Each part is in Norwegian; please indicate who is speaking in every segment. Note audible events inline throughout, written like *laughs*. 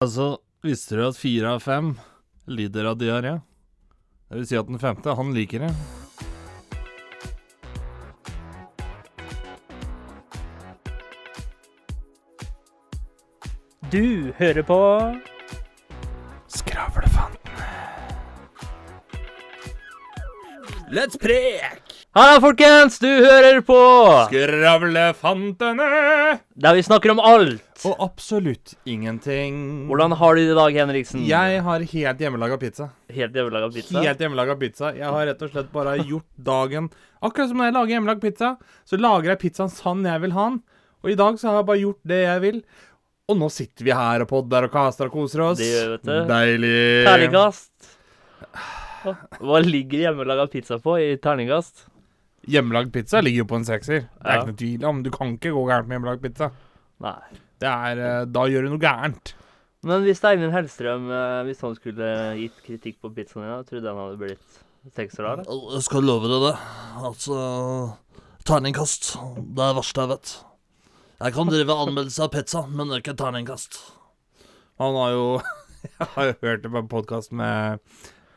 Speaker 1: Altså, visste du at fire av fem lider av diaré? Det vil si at den femte, han liker det.
Speaker 2: Du hører på
Speaker 1: Skravlefanten. Let's prek!
Speaker 2: Halla, folkens! Du hører på
Speaker 1: Skravlefantene!
Speaker 2: der vi snakker om alt.
Speaker 1: Og absolutt ingenting.
Speaker 2: Hvordan har du det i dag, Henriksen?
Speaker 1: Jeg har helt hjemmelaga pizza.
Speaker 2: Helt jævla god pizza.
Speaker 1: Helt hjemmelaga pizza. Jeg har rett og slett bare gjort dagen Akkurat som når jeg lager hjemmelagd pizza, så lager jeg pizzaen sånn jeg vil ha den. Og i dag så har jeg bare gjort det jeg vil. Og nå sitter vi her og podder og kaster og koser oss.
Speaker 2: Det gjør vi, vet du.
Speaker 1: Deilig.
Speaker 2: Terningkast. Hva ligger hjemmelaga pizza på i terningkast?
Speaker 1: Hjemmelagd pizza ligger jo på en sekser. Det er
Speaker 2: Ja.
Speaker 1: ikke noe tvil om. Du kan ikke gå gærent med hjemmelagd pizza.
Speaker 2: Nei.
Speaker 1: Det er, eh, da gjør du noe gærent.
Speaker 2: Men hvis Eivind Hellstrøm eh, hvis han skulle gitt kritikk på pizzaen din, da, tror du den hadde blitt sekser da? eller?
Speaker 3: Jeg skal love deg det. Altså Terningkast. Det er det verste jeg vet. Jeg kan drive anmeldelse av pizza, men ikke terningkast.
Speaker 1: Han har jo *laughs* Jeg har jo hørt det på en podkast med,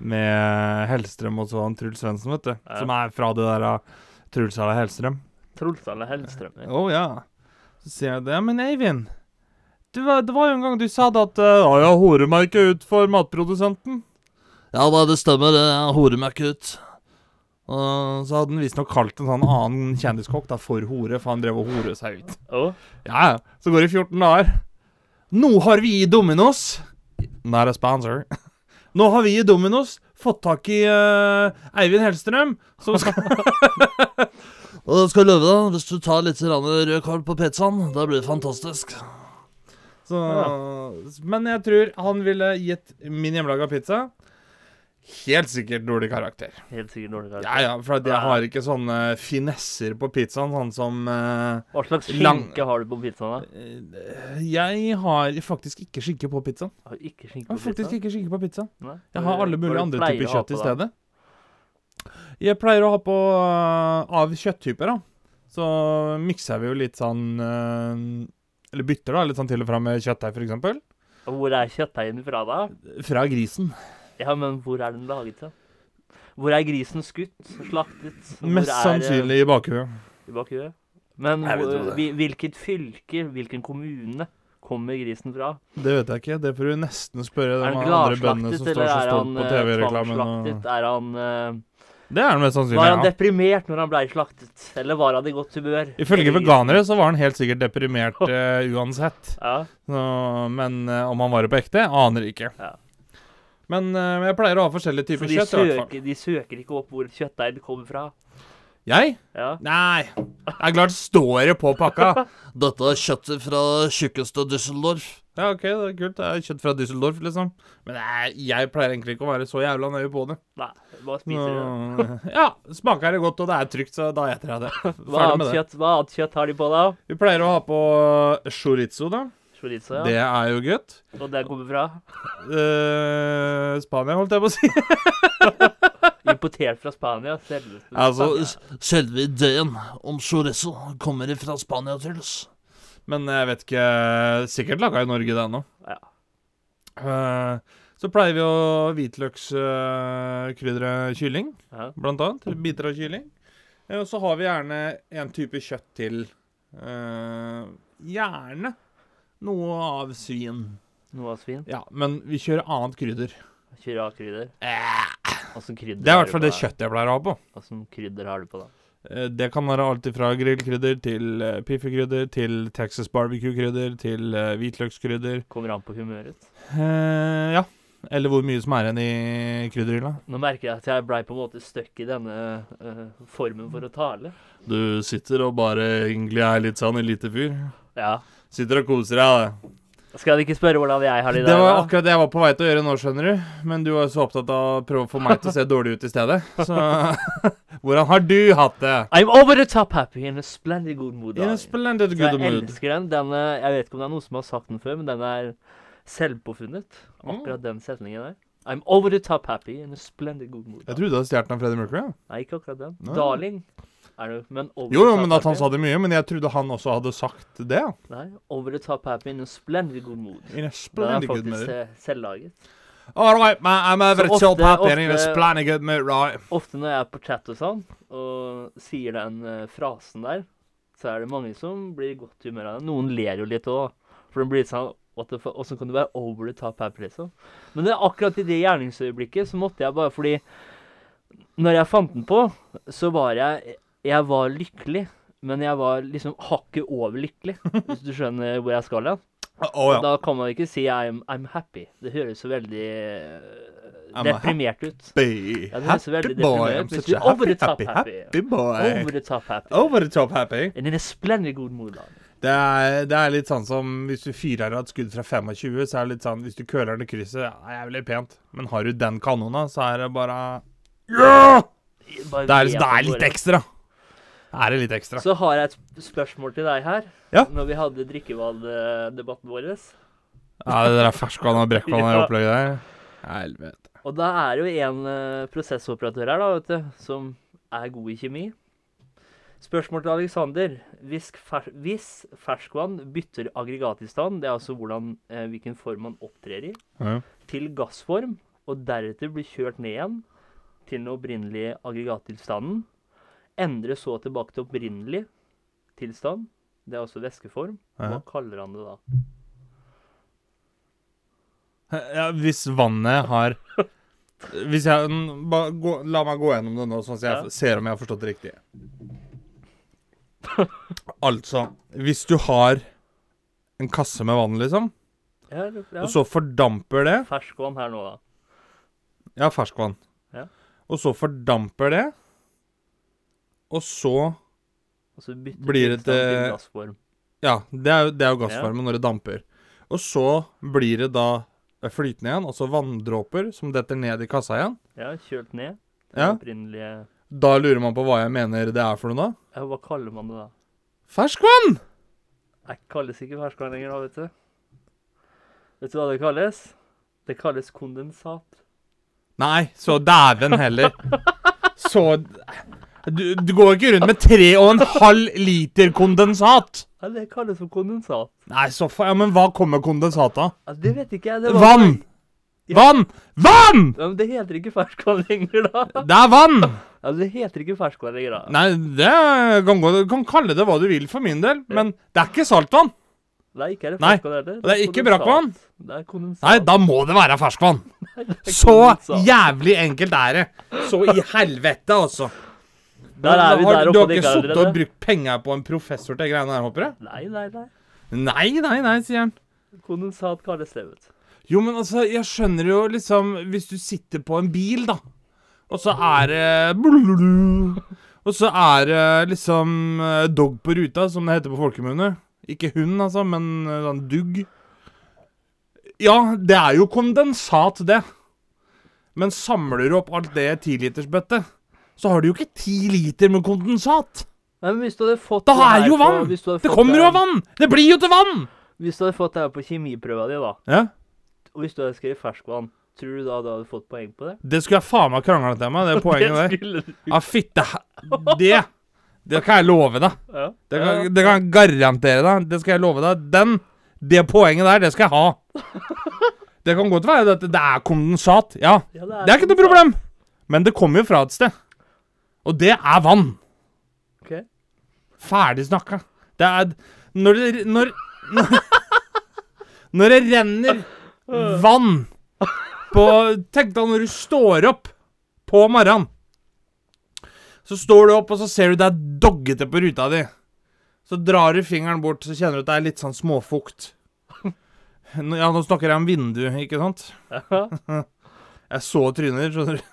Speaker 1: med Hellstrøm og så han Truls Svendsen, vet du.
Speaker 2: Ja.
Speaker 1: Som er fra det der av Truls eller Hellstrøm.
Speaker 2: Truls eller Hellstrøm?
Speaker 1: Å ja. Så sier jeg det. Men Eivind, du, var- det var jo en gang du sa det at eh, Ja, jeg horer meg ikke ut for matprodusenten.
Speaker 3: Ja, nei, det stemmer. Jeg horer meg ikke ut.
Speaker 1: Og så hadde han visstnok kalt en sånn annen kjendiskokk da for hore, for han drev og hore seg ut.
Speaker 2: Å?
Speaker 1: Ja, ja. Så går det 14 dager. Nå har vi i Dominos Not a sponsor. *laughs* Nå har vi i Dominos fått tak i eh, Eivind Hellstrøm. Som skal
Speaker 3: Og jeg skal love deg, hvis du tar litt grann rød karl på pizzaen, det blir fantastisk.
Speaker 1: så, Men jeg tror han ville gitt min hjemmelaga pizza helt sikkert dårlig karakter.
Speaker 2: Helt sikkert dårlig
Speaker 1: Ja,
Speaker 2: karakter.
Speaker 1: ja, for at jeg har ikke sånne finesser på pizzaen, sånn som eh,
Speaker 2: Hva slags
Speaker 1: Lang-
Speaker 2: skinke har du på pizzaen, da?
Speaker 1: eh, Jeg har faktisk ikke skinke på pizzaen.
Speaker 2: Har du ikke
Speaker 1: Jeg
Speaker 2: skinke på
Speaker 1: har faktisk
Speaker 2: pizzaen?
Speaker 1: ikke skinke på pizzaen.
Speaker 2: Nei.
Speaker 1: Jeg har alle
Speaker 2: Hva
Speaker 1: mulige
Speaker 2: du
Speaker 1: andre
Speaker 2: pleier
Speaker 1: typer
Speaker 2: å ha
Speaker 1: kjøtt i
Speaker 2: på, da?
Speaker 1: stedet. Jeg pleier å ha på øh, av kjøtttyper, da. Så mikser vi jo litt sånn øh, Eller bytter, da. Litt sånn til og fra med kjøttdeig, f.eks.
Speaker 2: Og Hvor er kjøttdeigen fra, da?
Speaker 1: Fra grisen.
Speaker 2: Ja, men hvor er den laget til? Hvor er grisen skutt, slaktet? Hvor
Speaker 1: Mest
Speaker 2: er, eh,
Speaker 1: sannsynlig i bakhuet.
Speaker 2: I bakhuet? Men
Speaker 3: Jeg vil
Speaker 2: hvor-
Speaker 3: tro det.
Speaker 2: hvil- hvilket fylke, hvilken kommune kommer grisen fra?
Speaker 1: Det vet jeg ikke. Det får du nesten spørre
Speaker 2: Er
Speaker 1: de
Speaker 2: han
Speaker 1: andre bøndene som
Speaker 2: gladslaktet,
Speaker 1: står
Speaker 2: eller
Speaker 1: så
Speaker 2: er han
Speaker 1: stolt på
Speaker 2: eh,
Speaker 1: TV-reklamen.
Speaker 2: tvangsslaktet?
Speaker 1: og-
Speaker 2: Er han eh,
Speaker 1: Det er det mest
Speaker 2: Var han
Speaker 1: sannsynlig, ja.
Speaker 2: deprimert når han blei slaktet? Eller var han i godt humør?
Speaker 1: Ifølge
Speaker 2: Eller-
Speaker 1: veganere så var han helt sikkert deprimert eh, uansett.
Speaker 2: Ja.
Speaker 1: Så, men eh, om han var det på ekte, aner jeg ikke.
Speaker 2: Ja.
Speaker 1: Men eh, jeg pleier å ha forskjellige
Speaker 2: Så
Speaker 1: typer kjøtt.
Speaker 2: de
Speaker 1: i hvert fall.
Speaker 2: søker, de søker ikke opp hvor kjøttdeigen kommer fra?
Speaker 1: Jeg?
Speaker 2: Ja.
Speaker 1: Nei. Det er klart står det på
Speaker 2: *laughs*
Speaker 1: pakka.
Speaker 3: Dette er kjøttet fra tjukkeste Düsseldorf.
Speaker 1: Ja, OK, det er kult. Det er kjøtt fra Düsseldorf, liksom. Men nei, jeg pleier egentlig ikke å være så jævla nøye på det.
Speaker 2: Nei, hva spiser de? da?
Speaker 1: Nå, *laughs* ja, smaker det godt, og det er trygt, så da eter jeg det.
Speaker 2: *laughs* Hva
Speaker 1: Ferdig med
Speaker 2: annet
Speaker 1: det.
Speaker 2: kjøtt, hva annet kjøtt har de på da?
Speaker 1: Vi pleier å ha på eh, chorizo, da.
Speaker 2: Chorizo, ja.
Speaker 1: Det er jo godt.
Speaker 2: Og den kommer fra?
Speaker 1: Eh, Spania, holdt jeg på å si.
Speaker 2: Importert fra Spania. Selveste
Speaker 1: Altså,
Speaker 2: Spania.
Speaker 3: Selve ideen om chorizo kommer fra Spania, Truls.
Speaker 1: Men jeg vet ikke Sikkert laga i Norge, det ennå.
Speaker 2: Ja.
Speaker 1: Eh, så pleier vi å hvitløkskrydre kylling.
Speaker 2: Ja.
Speaker 1: blant annet. Biter av kylling. Eh, Og så har vi gjerne en type kjøtt til. Eh, gjerne noe av svin.
Speaker 2: Noe av svin.
Speaker 1: Ja, men vi kjører annet krydder.
Speaker 2: Kjøre av krydder. Åssen krydder
Speaker 1: Det er i
Speaker 2: har du
Speaker 1: hvert fall
Speaker 2: på
Speaker 1: det
Speaker 2: da?
Speaker 1: kjøttet jeg pleier å ha på.
Speaker 2: Åssen krydder har du på da?
Speaker 1: Eh, Det kan være alt fra grillkrydder til eh, piffekrydder til Texas barbecue-krydder til eh, hvitløkskrydder.
Speaker 2: Kommer an på humøret.
Speaker 1: Eh, ja. Eller hvor mye som er igjen i krydderhylla.
Speaker 2: Nå merker jeg at jeg blei på en måte stuck i denne eh, formen for å tale.
Speaker 1: Du sitter og bare egentlig er litt sånn elitefyr.
Speaker 2: Ja.
Speaker 1: Sitter og koser deg. det.
Speaker 2: Skal dere ikke spørre hvordan jeg har det i
Speaker 1: Det
Speaker 2: dag?
Speaker 1: var
Speaker 2: da?
Speaker 1: akkurat det jeg var på vei til å gjøre nå, skjønner du. Men du var så opptatt av å prøve å få meg til å se dårlig ut i stedet. Så *laughs* hvordan har du hatt det?
Speaker 2: I'm over the top happy in a splendid good mood.
Speaker 1: In a
Speaker 2: darling.
Speaker 1: splendid
Speaker 2: Så
Speaker 1: good
Speaker 2: jeg
Speaker 1: mood.
Speaker 2: elsker den. den eh, jeg vet ikke om det er noen som har sagt den før, men den er selvpåfunnet.
Speaker 1: Mm.
Speaker 2: Akkurat den setningen der. I'm over the top happy in a splendid good mood.
Speaker 1: Jeg trodde du hadde stjålet den av Freddie Mercury. Ja.
Speaker 2: Nei, ikke akkurat den.
Speaker 1: Nei.
Speaker 2: Darling. Er det, men over
Speaker 1: Jo, jo,
Speaker 2: the top
Speaker 1: men at han
Speaker 2: happy-
Speaker 1: sa det mye. Men jeg trodde han også hadde sagt det. ja.
Speaker 2: Nei, over the top happy in a splendid good mood.
Speaker 1: In a
Speaker 2: Den er
Speaker 1: splendid good
Speaker 2: faktisk
Speaker 1: mood.
Speaker 2: eh, selvlaget.
Speaker 1: All right, man, I'm over
Speaker 2: Så
Speaker 1: the top
Speaker 2: ofte-
Speaker 1: happy and in a
Speaker 2: ofte-
Speaker 1: splendid good mood, right?
Speaker 2: Ofte når jeg er på chat og sånn, og sier den eh, frasen der, så er det mange som blir i godt humør av den. Noen ler jo litt òg, for den blir sånn what the fuck, Åssen kan du være over the top happy, liksom? Men det er akkurat i det gjerningsøyeblikket så måtte jeg bare fordi Når jeg fant den på, så var jeg Jeg var lykkelig, men jeg var liksom hakket over lykkelig, hvis du skjønner hvor jeg skal hen.
Speaker 1: Å å, Oh, ja.
Speaker 2: Da kan man ikke si I'm, I'm happy. Det høres så veldig eh,
Speaker 1: I'm
Speaker 2: deprimert ut.
Speaker 1: Be
Speaker 2: Ja, det høres
Speaker 1: happy
Speaker 2: veldig
Speaker 1: boy.
Speaker 2: deprimert
Speaker 1: I'm
Speaker 2: ut, hvis
Speaker 1: such
Speaker 2: vi
Speaker 1: a
Speaker 2: over
Speaker 1: happy,
Speaker 2: the top
Speaker 1: happy,
Speaker 2: happy.
Speaker 1: happy boy.
Speaker 2: Over the top happy.
Speaker 1: Over the top happy.
Speaker 2: And in a splendid good mood. Lars.
Speaker 1: Det er, det er litt sånn som hvis du fyrer av et skudd fra 25, så er det litt sånn Hvis du køler det krysset, ja, det er jævlig pent, men har du den kanona, så er det bare Ja!
Speaker 2: Bare
Speaker 1: Det er, liksom-
Speaker 2: vet
Speaker 1: det er
Speaker 2: at
Speaker 1: litt
Speaker 2: våre-
Speaker 1: ekstra. Det er litt ekstra.
Speaker 2: Så har jeg et sp- spørsmål til deg her.
Speaker 1: Ja.
Speaker 2: Når vi hadde drikkevalgdebatten vår.
Speaker 1: Ja, det der ferskvann og brekkvann
Speaker 2: *laughs*
Speaker 1: i opplegget der. Helvete.
Speaker 2: Og da er det jo en eh, prosessoperatør her, da, vet du, som er god i kjemi. Spørsmål til Alexander. Hvis, fer hvis ferskvann bytter aggregattilstand, det er altså hvordan, eh, hvilken form man opptrer i,
Speaker 1: Ja.
Speaker 2: til gassform, og deretter blir kjørt ned igjen til den opprinnelige aggregattilstanden. Endre så tilbake til opprinnelig tilstand, det er altså væskeform. Hva
Speaker 1: Ja.
Speaker 2: kaller han det da?
Speaker 1: Ja, hvis vannet har Hvis jeg n- ba, gå, La meg gå gjennom det nå, sånn at jeg
Speaker 2: Ja.
Speaker 1: f- ser om jeg har forstått det riktig. altså, hvis du har en kasse med vann, liksom,
Speaker 2: Ja, det- ja.
Speaker 1: og så fordamper det
Speaker 2: Ferskvann her nå, da.
Speaker 1: Ja, ferskvann.
Speaker 2: Ja.
Speaker 1: Og så fordamper det, og så
Speaker 2: Og så Altså bytter
Speaker 1: Blir det eh,
Speaker 2: tilstand til
Speaker 1: til-
Speaker 2: gassform.
Speaker 1: Ja, det er, jo- det er jo
Speaker 2: Ja.
Speaker 1: gassvarme når det damper. Og så blir det da flytende igjen, altså vanndråper som detter ned i kassa igjen.
Speaker 2: Ja, kjølt ned. til
Speaker 1: Ja.
Speaker 2: den Opprinnelige
Speaker 1: Da lurer man på hva jeg mener det er for noe, da.
Speaker 2: ja, Hva kaller man det da?
Speaker 1: Ferskvann!
Speaker 2: Nei, det kalles ikke ferskvann lenger, da, vet du. Vet du hva det kalles? Det kalles kondensat.
Speaker 1: Nei, så dæven heller. *laughs* Så du, du går ikke rundt med tre og en halv liter kondensat.
Speaker 2: Ja, det kalles for kondensat.
Speaker 1: Nei, så faen Ja, men hva kommer kondensat av?
Speaker 2: Ja, det vet ikke jeg. Det var-
Speaker 1: Vann! Vann! Vann!
Speaker 2: Ja, men det heter ikke ferskvann lenger, da.
Speaker 1: Det er vann!
Speaker 2: Ja, det heter ikke ferskvann lenger, da.
Speaker 1: Nei, det kan gå Du kan kalle det hva du vil for min del, men det er ikke saltvann.
Speaker 2: Nei, ikke er det
Speaker 1: Nei,
Speaker 2: ferskvann heller.
Speaker 1: det er ikke brakkvann.
Speaker 2: kondensat. Det er kondensat.
Speaker 1: Nei, da må det være ferskvann.
Speaker 2: Det er
Speaker 1: Så
Speaker 2: kondensat.
Speaker 1: jævlig enkelt er det. Så i helvete, altså.
Speaker 2: Der er vi
Speaker 1: Har-
Speaker 2: der
Speaker 1: du har
Speaker 2: oppe og
Speaker 1: ikke
Speaker 2: digger
Speaker 1: sittet og
Speaker 2: allerede.
Speaker 1: brukt penger på en professor til greiene her, håper jeg?
Speaker 2: Nei, nei, nei.
Speaker 1: Nei, nei, nei, sier han.
Speaker 2: Kondensat kalles det, vet du.
Speaker 1: Jo, men altså, jeg skjønner jo liksom Hvis du sitter på en bil, da, og så er det Og så er det liksom eh, dog på ruta, som det heter på folkemunne. Ikke hund, altså, men eh, sånn dugg. Ja, det er jo kondensat, det. Men samler du opp alt det i tilitersbøtte, så har du jo ikke ti liter med kondensat.
Speaker 2: Nei, men hvis du hadde fått
Speaker 1: Da
Speaker 2: her
Speaker 1: er jo
Speaker 2: på-
Speaker 1: vann!
Speaker 2: hvis du hadde
Speaker 1: Det
Speaker 2: fått
Speaker 1: kommer jo
Speaker 2: her-
Speaker 1: av vann! Det blir jo til vann!
Speaker 2: Hvis du hadde fått det her på kjemiprøva di, da,
Speaker 1: Ja,
Speaker 2: og hvis du hadde skrevet ferskvann, tror du da du hadde fått poeng på det?
Speaker 1: Det skulle jeg faen meg krangla til meg, *laughs* det er
Speaker 2: *laughs*
Speaker 1: poenget der.
Speaker 2: det skulle du.
Speaker 1: Ja, Ah, fitte he- Det Det kan jeg love deg.
Speaker 2: Ja.
Speaker 1: Det kan, det kan jeg garantere deg. Det skal jeg love deg. Den Det poenget der, det skal jeg ha. Det kan godt være at det er kondensat. Ja,
Speaker 2: Ja,
Speaker 1: det er ikke noe problem. Men det kommer jo fra et sted. Og det er vann.
Speaker 2: Ok.
Speaker 1: Ferdig snakka. Det er Når det Når Når, når det renner vann på Tenk deg når du står opp på morgenen. Så står du opp, og så ser du det er doggete på ruta di. Så drar du fingeren bort, så kjenner du at det er litt sånn småfukt. Nå- Ja, nå snakker jeg om vindu, ikke sant?
Speaker 2: problem.
Speaker 1: Jeg så tryner, skjønner du.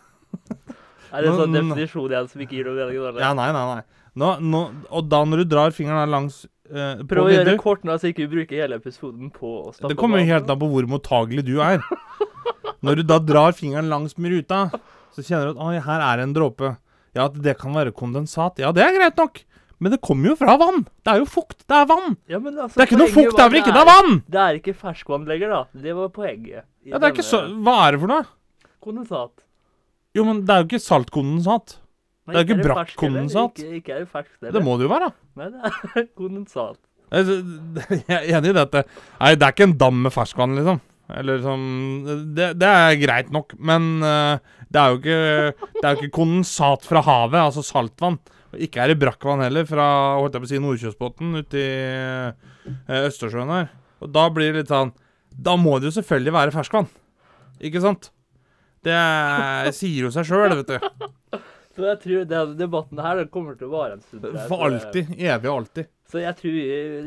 Speaker 2: *laughs* er det en sånn
Speaker 1: Nå- nå-
Speaker 2: definisjon igjen som ikke gir noe mening? da, eller?
Speaker 1: Ja, nei, nei, nei. Nå, nå, og da når du drar fingeren da langs eh, på
Speaker 2: Prøv å gjøre
Speaker 1: vinduet
Speaker 2: det kort nå, så ikke vi bruker hele episoden på å snakke
Speaker 1: Det kommer
Speaker 2: om
Speaker 1: jo
Speaker 2: alt.
Speaker 1: helt an på hvor mottagelig du er. Når du da drar fingeren langs med ruta, så kjenner du at Oi, her er en dråpe. Ja, at det kan være kondensat. Ja, det er greit nok. Men det kommer jo fra vann. Det er jo fukt. Det er vann.
Speaker 2: Ja, men altså,
Speaker 1: Det er ikke noe
Speaker 2: poenget
Speaker 1: fukt
Speaker 2: var
Speaker 1: der hvor ikke det er vann!
Speaker 2: Det er ikke ferskvann lenger, da. Det var poenget. i
Speaker 1: Ja, det er ikke så
Speaker 2: denne
Speaker 1: Hva er det for noe?
Speaker 2: Kondensat.
Speaker 1: Jo, men det er jo ikke saltkondensat.
Speaker 2: Nei,
Speaker 1: Det er jo ikke
Speaker 2: ferskt
Speaker 1: brakt
Speaker 2: heller.
Speaker 1: kondensat.
Speaker 2: Ikke, ikke er det ferskt heller.
Speaker 1: Det må det jo være, da.
Speaker 2: Nei, det er *laughs* kondensat.
Speaker 1: Altså, *laughs* Jeg er enig i dette. Nei, det er ikke en dam med ferskvann, liksom. Eller sånn Det, det er greit nok, men eh, det er jo ikke Det er jo ikke kondensat fra havet, altså saltvann. Og Ikke er det brakkvann heller, fra holdt jeg på å si Nordkjøsbotn ute i eh, Østersjøen her. Og da blir det litt sånn Da må det jo selvfølgelig være ferskvann. Ikke sant? Det er- sier jo seg sjøl, vet du.
Speaker 2: Så jeg tror den debatten her den kommer til å vare en stund. tror jeg.
Speaker 1: For alltid. Evig og alltid.
Speaker 2: Så jeg tror vi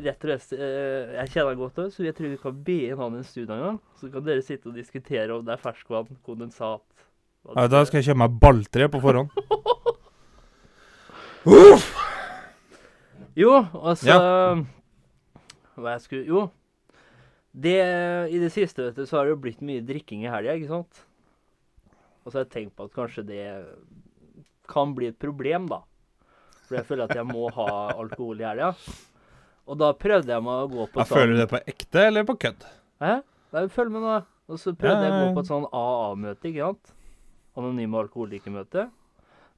Speaker 2: rett og slett eh, Jeg kjenner han godt òg, så jeg tror vi kan be inn han en studie en gang. Så kan dere sitte og diskutere om det er ferskvann, kondensat hva
Speaker 1: Ja,
Speaker 2: det
Speaker 1: da
Speaker 2: er.
Speaker 1: skal jeg kjøpe meg balltre på *laughs* forhånd. Uff!
Speaker 2: Jo, altså Hva jeg skulle Jo. Det, I det siste vet du, så har det jo blitt mye drikking i helga, ikke sant? Og så har jeg tenkt på at kanskje det kan bli et problem, da. For jeg føler at jeg må ha alkohol i helga. Og da prøvde jeg meg å gå på
Speaker 1: Jeg føler du det på ekte eller på kødd?
Speaker 2: Hæ? Nei, følg med nå. Og så prøvde jeg å
Speaker 1: Ja, ja,
Speaker 2: gå
Speaker 1: ja.
Speaker 2: på et sånn AA-møte, ikke sant? Anonyme alkoholikermøte.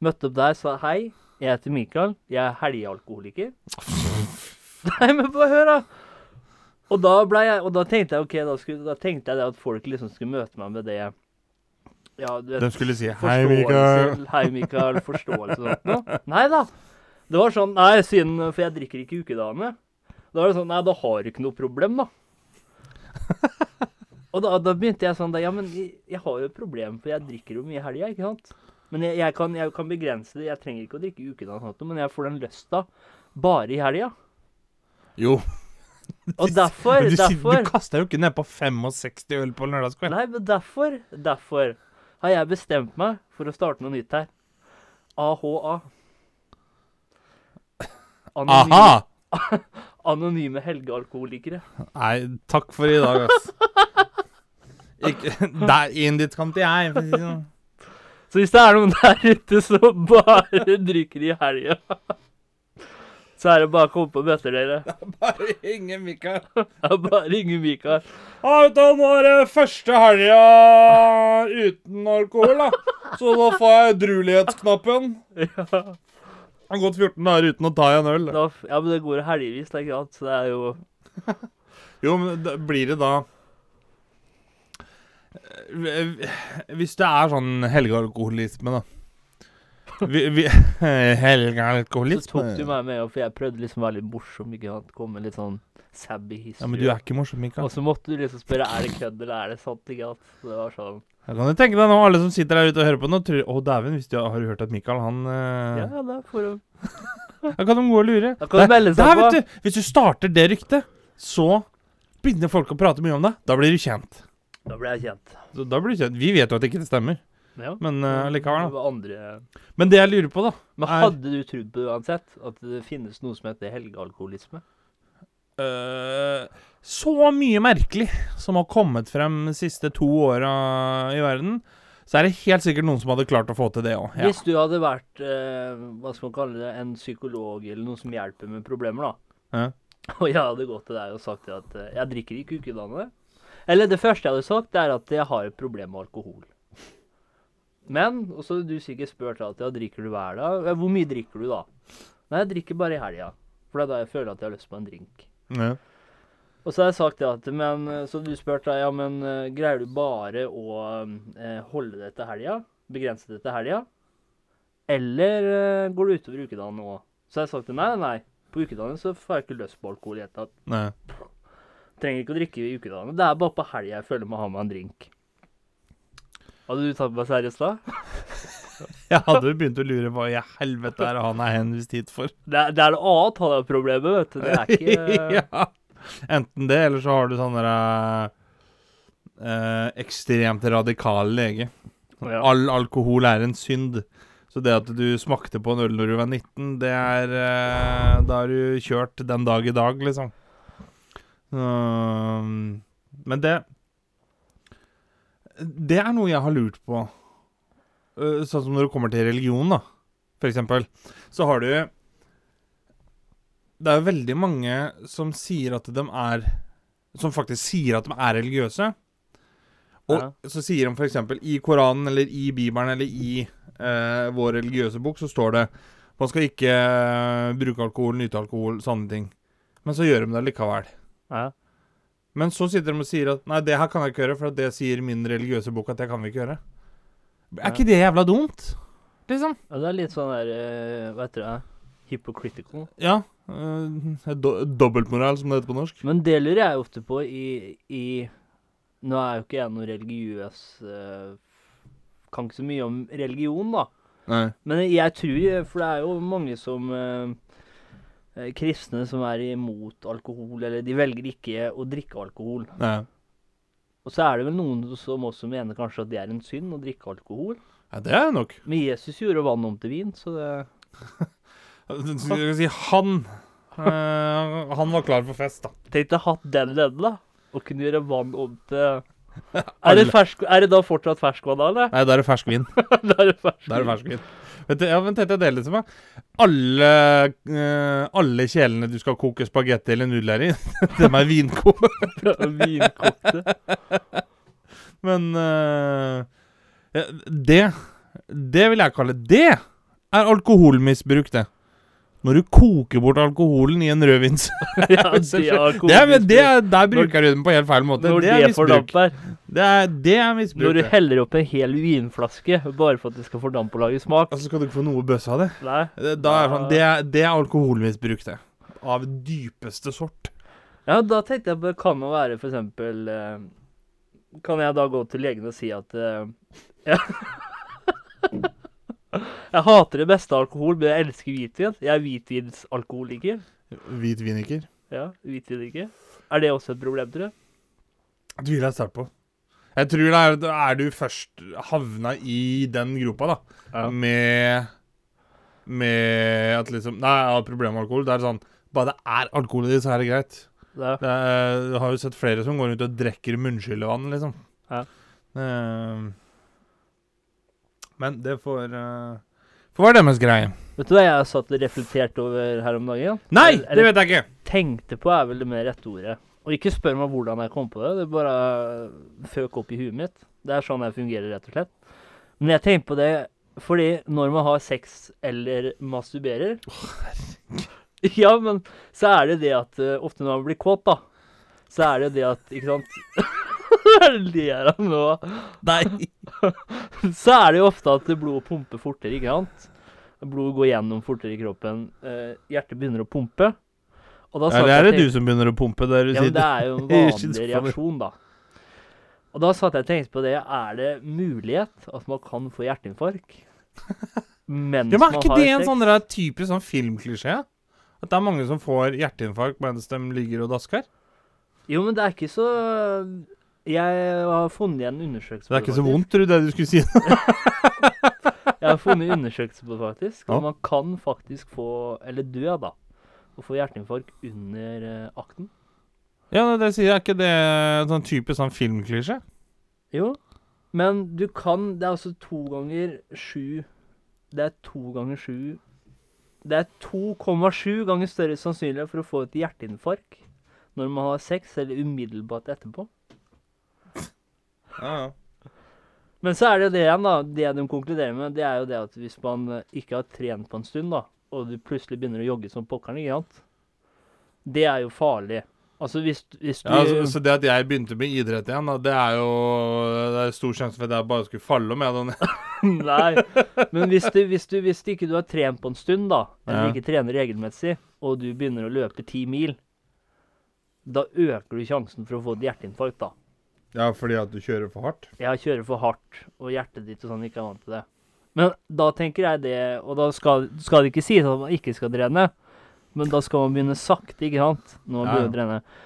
Speaker 2: Møtte opp der, sa hei, jeg heter Mikael, jeg er helgealkoholiker. *laughs* Nei, men bare hør, da! Og da, ble jeg, og da tenkte jeg ok, da, skulle, da tenkte jeg det at folk liksom skulle møte meg med det Ja, du vet
Speaker 1: De skulle si 'hei,
Speaker 2: forståelse,
Speaker 1: Mikael'.
Speaker 2: Hei, Mikael. Forståelse og sånt noe. Nei da. Det var sånn Nei, siden For jeg drikker ikke ukedagene. Da var det sånn Nei, da har du ikke noe problem, da.
Speaker 1: *laughs*
Speaker 2: Og da, da begynte jeg sånn da, Ja, men jeg, jeg har jo et problem, for jeg drikker jo mye i helga, ikke sant? Men jeg, jeg, kan, jeg kan begrense det. Jeg trenger ikke å drikke ukedagene, og sånt noe, men jeg får den lysta bare i helga.
Speaker 1: Jo. *laughs*
Speaker 2: Og derfor,
Speaker 1: Men du, sier-
Speaker 2: derfor
Speaker 1: du kaster jo ikke nedpå 65 øl på en lørdagskveld.
Speaker 2: Nei, men derfor, derfor har jeg bestemt meg for å starte noe nytt her. AHA. Anonyme,
Speaker 1: Aha!
Speaker 2: anonyme helgealkoholikere.
Speaker 1: Nei, takk for i dag, ass. *laughs* Ikke, der inn dit kan ikke jeg. for å si det sånn.
Speaker 2: Så hvis det er noen der ute som *laughs* bare drikker i helga, *laughs* så er det bare å komme på møter, dere.
Speaker 1: *laughs* Bare ingen Mikael.
Speaker 2: Det er bare ingen Mikael.
Speaker 1: Ja, vet du, nå er det første helga uten alkohol, da. Så da får jeg drulighetsknappen.
Speaker 2: *laughs* Ja,
Speaker 1: Jeg har gått 14 dager uten å ta en øl.
Speaker 2: da, ja, men det går helgevis, det er ikke sant? Så det er jo
Speaker 1: Jo, men da, blir det da Eh, Hvis det er sånn helgealkoholisme, da vi, vi, *laughs*
Speaker 2: Så tok du
Speaker 1: Helgealkoholisme?
Speaker 2: meg med, for jeg prøvde liksom å være litt morsom, ikke sant? Komme med litt sånn sabby history.
Speaker 1: Ja, men du er ikke morsom, Mikael.
Speaker 2: Og så måtte du liksom spørre er det kødd eller er det sant. ikke alt? Så det var sånn
Speaker 1: Jeg kan jo tenke deg nå, alle som sitter der ute og hører på nå, tror Å, dæven, hvis de har har du hørt at Mikael, han
Speaker 2: Ja,
Speaker 1: eh,
Speaker 2: da får du
Speaker 1: Da kan de gå og lure.
Speaker 2: Da kan de
Speaker 1: Der-
Speaker 2: melde seg
Speaker 1: der,
Speaker 2: på.
Speaker 1: vet du, Hvis du starter det ryktet, så begynner folk å prate mye om deg. Da blir du kjent.
Speaker 2: Da ble jeg kjent.
Speaker 1: Så da blir du kjent. Vi vet jo at ikke det stemmer,
Speaker 2: Ja.
Speaker 1: men eh,
Speaker 2: Det
Speaker 1: likevel, da.
Speaker 2: var andre...
Speaker 1: Men det jeg lurer på, da
Speaker 2: Men
Speaker 1: Er-
Speaker 2: hadde du trodd på det uansett? At det finnes noe som heter helgealkoholisme?
Speaker 1: Eh, så mye merkelig som har kommet frem de siste to åra i verden, så er det helt sikkert noen som hadde klart å få til det òg. Ja.
Speaker 2: Hvis du hadde vært eh, hva skal man kalle det, en psykolog eller noen som hjelper med problemer, da.
Speaker 1: Ja.
Speaker 2: *laughs* Og jeg hadde gått til deg og sagt at eh, jeg drikker ikke ukedagene. Eller det første jeg hadde sagt, det er at jeg har et problem med alkohol. Men og så hadde du sikkert spurt at ja, drikker du hver dag? Ja, Hvor mye drikker du da? Nei, jeg drikker bare i helga. For det er da jeg føler at jeg har lyst på en drink.
Speaker 1: Ja.
Speaker 2: Og så har jeg sagt det at men, eh, Så du spurte ja, men eh, greier du bare å eh, holde det til helga? Begrense det til helga? Eller eh, går det utover ukedagen nå? Så har jeg sagt nei, nei, nei. På ukedagene så får jeg ikke lyst på alkohol i det hele tatt.
Speaker 1: Nei.
Speaker 2: Trenger ikke å drikke i ukedagene. Det er bare på helga jeg føler meg ha meg en drink. Hadde du tatt meg seriøst da?
Speaker 1: *laughs* Jeg hadde jo begynt å lure på hva i helvete er det han er henvist hit
Speaker 2: *laughs*
Speaker 1: for.
Speaker 2: Det er det, er noe annet han har problemet, vet du. Det er ikke
Speaker 1: *laughs* ja. Enten det, eller så har du sånn derre eh, ekstremt radikal lege.
Speaker 2: Ja.
Speaker 1: Sånn, All alkohol er en synd. Så det at du smakte på en øl når du var 19, det er eh, Da har du kjørt den dag i dag, liksom. Um, men det Det er noe jeg har lurt på. Eh, Sånn som når det kommer til religion, da, for eksempel. Så har du Det er veldig mange som sier at de er Som faktisk sier at de er religiøse. Og
Speaker 2: Ja.
Speaker 1: så sier de f.eks. i Koranen eller i Bibelen eller i eh, vår religiøse bok, så står det man skal ikke eh, bruke alkohol, nyte alkohol, sånne ting. Men så gjør de det likevel.
Speaker 2: Ja.
Speaker 1: Men så sitter de og sier at nei, det her kan jeg ikke gjøre, for at det sier min religiøse bok at det kan vi ikke gjøre. Er
Speaker 2: Ja.
Speaker 1: ikke det jævla dumt? Liksom.
Speaker 2: ja, det er litt sånn der eh, Hva heter det? Hypocritical.
Speaker 1: Ja. eh, do Dobbeltmoral, som det heter på norsk.
Speaker 2: Men det lurer jeg ofte på i, i Nå er jo ikke jeg noe religiøs eh, Kan ikke så mye om religion, da.
Speaker 1: Nei.
Speaker 2: Men jeg tror For det er jo mange som eh, eh, Kristne som er imot alkohol, eller de velger ikke å drikke alkohol.
Speaker 1: Nei.
Speaker 2: Og så er det vel noen som også mener kanskje at det er en synd å drikke alkohol.
Speaker 1: Ja, det er nok.
Speaker 2: Men Jesus gjorde vann om til vin, så det
Speaker 1: Jeg Altså, skal si han. eh, han var klar for fest, da.
Speaker 2: Tenk deg hatt den ledden, da. Og kunne gjøre vann om *laughs* til Er det,
Speaker 1: Alle.
Speaker 2: fersk, er det da fortsatt ferskvann, da, eller?
Speaker 1: Nei, da er det ferskvin.
Speaker 2: *laughs* Da er det fersk.
Speaker 1: *laughs* Da er det ferskvin. Vet du, ja, vent, dette deler seg med. Alle, eh, alle kjelene du skal koke spagetti eller nudler i, *laughs* dem er vinkokt. *laughs*
Speaker 2: Vinkokte.
Speaker 1: Men eh, eh, det Det vil jeg kalle Det er alkoholmisbruk, det. Når du koker bort alkoholen i en rødvins.
Speaker 2: *laughs* Ja,
Speaker 1: *laughs*
Speaker 2: det
Speaker 1: Det
Speaker 2: er
Speaker 1: Det er,
Speaker 2: alkoholmisbruk.
Speaker 1: det er, der bruker du den på helt feil måte.
Speaker 2: Når
Speaker 1: Det
Speaker 2: det,
Speaker 1: er misbruk.
Speaker 2: fordamper.
Speaker 1: Det er, det er misbruk.
Speaker 2: Når du
Speaker 1: det.
Speaker 2: heller opp en hel vinflaske bare for at det skal fordampe og lage smak.
Speaker 1: Altså, skal du ikke få noe bøss av det?
Speaker 2: *laughs* Nei.
Speaker 1: Det- Da er det sånn, det, er- det er alkoholmisbruk, det. Av dypeste sort.
Speaker 2: Ja, da tenkte jeg på Kan det være for eksempel eh, Kan jeg da gå til legen og si at eh, *laughs* jeg, jeg hater det meste av alkohol, men jeg elsker hvitvin. Jeg er hvitvinsalkoholiker.
Speaker 1: Hvit viniker.
Speaker 2: Ja, hvitviniker. Er det også et problem, tror du?
Speaker 1: Tviler jeg sterkt på. Jeg tror det er, da er du først havna i den gropa, da.
Speaker 2: Ja.
Speaker 1: Med Med at liksom Nei, jeg har problemer med alkohol. Det er sånn Bare det er alkohol i det, så er det greit.
Speaker 2: Da,
Speaker 1: Det er, eh, jeg har jo sett flere som går rundt og drikker munnskyllevann, liksom.
Speaker 2: Ja.
Speaker 1: Eh, men det får uh, Får være deres greie.
Speaker 2: vet du hva jeg satt og reflekterte over her om dagen?
Speaker 1: Nei!
Speaker 2: Eller-
Speaker 1: Det vet jeg ikke!
Speaker 2: Tenkte på er vel det mer rette ordet. Og ikke spør meg hvordan jeg kom på det, det bare føk opp i huet mitt. Det er sånn jeg fungerer, rett og slett. Men jeg tenker på det fordi når man har sex eller masturberer *laughs* Ja, men så er det det at eh, ofte når man blir kåt, da, så er det det at Ikke sant? *laughs* Ler han nå?
Speaker 3: Nei.
Speaker 2: så er det jo ofte at blodet pumper fortere, ikke sant? Blodet går gjennom fortere i kroppen. Eh, hjertet begynner å pumpe. Og da
Speaker 1: Ja,
Speaker 2: satt
Speaker 1: det er
Speaker 2: jeg
Speaker 1: det du som begynner å pumpe der du
Speaker 2: ja, men det
Speaker 1: sitter. *laughs*
Speaker 2: er jo
Speaker 1: i
Speaker 2: en vanlig
Speaker 1: skinnspannet.
Speaker 2: reaksjon, da. Og da satt jeg og tenkte på det. Er det mulighet at man kan få hjerteinfarkt mens
Speaker 1: Ja, men
Speaker 2: man
Speaker 1: er
Speaker 2: har
Speaker 1: ikke det en
Speaker 2: sex?
Speaker 1: sånn der typisk sånn filmklisjé? At det er mange som får hjerteinfarkt mens de ligger og dasker?
Speaker 2: Jo, men det er ikke så Jeg har funnet en undersøkelse
Speaker 1: Så det er ikke så
Speaker 2: faktisk.
Speaker 1: vondt, tror du, det du skulle si?
Speaker 2: Jeg har funnet en undersøkelse på det, faktisk.
Speaker 1: Ja.
Speaker 2: Og man kan faktisk få Eller dø, da. Og få hjerteinfarkt under eh, akten.
Speaker 1: Ja, det, det sier jeg. Er ikke det en sånn typisk sånn filmklisjé?
Speaker 2: Jo, men du kan Det er altså to ganger sju Det er to ganger sju Det er 2,7 ganger større sannsynlighet for å få et hjerteinfarkt når man har sex, eller umiddelbart etterpå.
Speaker 1: Ja, ja.
Speaker 2: Men så er det jo det igjen, da. Det de konkluderer med, det er jo det at hvis man eh, ikke har trent på en stund, da, og du plutselig begynner å jogge som pokkeren, ikke sant Det er jo farlig. Altså hvis, hvis du
Speaker 1: Ja, så, så det at jeg begynte med idrett igjen, da, det er jo det er stor sjanse for at jeg bare skulle falle om. Jeg, da. *laughs*
Speaker 2: Nei, men hvis, du, hvis, du, hvis ikke du har trent på en stund, da,
Speaker 1: Ja.
Speaker 2: eller ikke trener regelmessig, og du begynner å løpe ti mil, da øker du sjansen for å få et hjerteinfarkt, da.
Speaker 1: ja, fordi at du kjører for hardt?
Speaker 2: Jeg kjører for hardt, og hjertet ditt og sånn ikke er vant til det. Men da tenker jeg det, og da skal, skal det ikke sies at man ikke skal trene, men da skal man begynne sakte, ikke sant, når
Speaker 1: Ja,
Speaker 2: man
Speaker 1: ja.
Speaker 2: begynner å trene.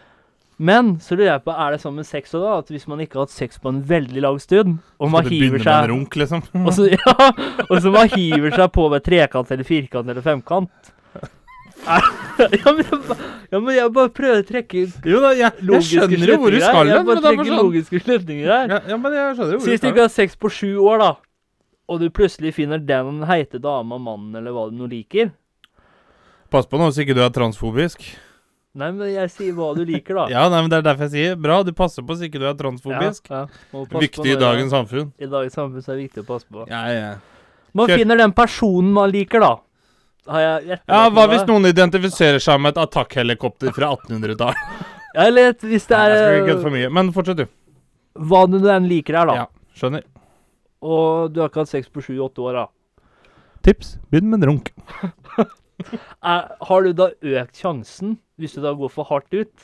Speaker 2: Men så lurer jeg på, er det sånn med sex òg, da? At hvis man ikke har hatt sex på en veldig lang stund, og man
Speaker 1: Skal du
Speaker 2: hiver
Speaker 1: begynne
Speaker 2: seg
Speaker 1: med en runk, liksom?
Speaker 2: *laughs* og så, ja, og så man hiver seg på med trekant eller firkant eller femkant. *laughs* Er- Ja, men jeg, ba- ja, men jeg bare prøver å trekke
Speaker 1: Jo da, jeg, jeg
Speaker 2: logiske
Speaker 1: skjønner jo hvor du
Speaker 2: slutninger her.
Speaker 1: skal
Speaker 2: Jeg
Speaker 1: hen. men
Speaker 2: bare
Speaker 1: det er bare
Speaker 2: trekker
Speaker 1: sånn-
Speaker 2: logiske slutninger her.
Speaker 1: Ja, ja, men jeg skjønner jo hvor
Speaker 2: Sist
Speaker 1: du
Speaker 2: du
Speaker 1: skal.
Speaker 2: ikke har sex på sju år, da, og du plutselig finner den heite dama, mannen eller hva du nå liker
Speaker 1: Pass på nå, så ikke du er transfobisk.
Speaker 2: Nei, men jeg sier hva du liker, da.
Speaker 1: *laughs* Ja, nei, men Det er derfor jeg sier bra. Du passer på så ikke du er transfobisk.
Speaker 2: Ja, ja. Må passe på
Speaker 1: Viktig i
Speaker 2: når-
Speaker 1: dagens samfunn.
Speaker 2: I dagens samfunn så er det viktig å passe på.
Speaker 1: Ja, ja.
Speaker 2: Man
Speaker 1: Kjør.
Speaker 2: finner den personen man liker, da. Har jeg
Speaker 1: ja,
Speaker 2: etterlatt
Speaker 1: Hva
Speaker 2: meg?
Speaker 1: hvis noen identifiserer seg med et attackhelikopter fra 1800-tallet?
Speaker 2: Ja, Eller et- hvis det
Speaker 1: Nei, Jeg skal ikke
Speaker 2: er
Speaker 1: kødde for mye. Men fortsett, du.
Speaker 2: hva du enn liker her, da.
Speaker 1: Ja, skjønner.
Speaker 2: Og du har ikke hatt sex på sju-åtte år, da.
Speaker 1: Tips begynn med en runk.
Speaker 2: Er, Eh, har du da økt sjansen, hvis du da går for hardt ut?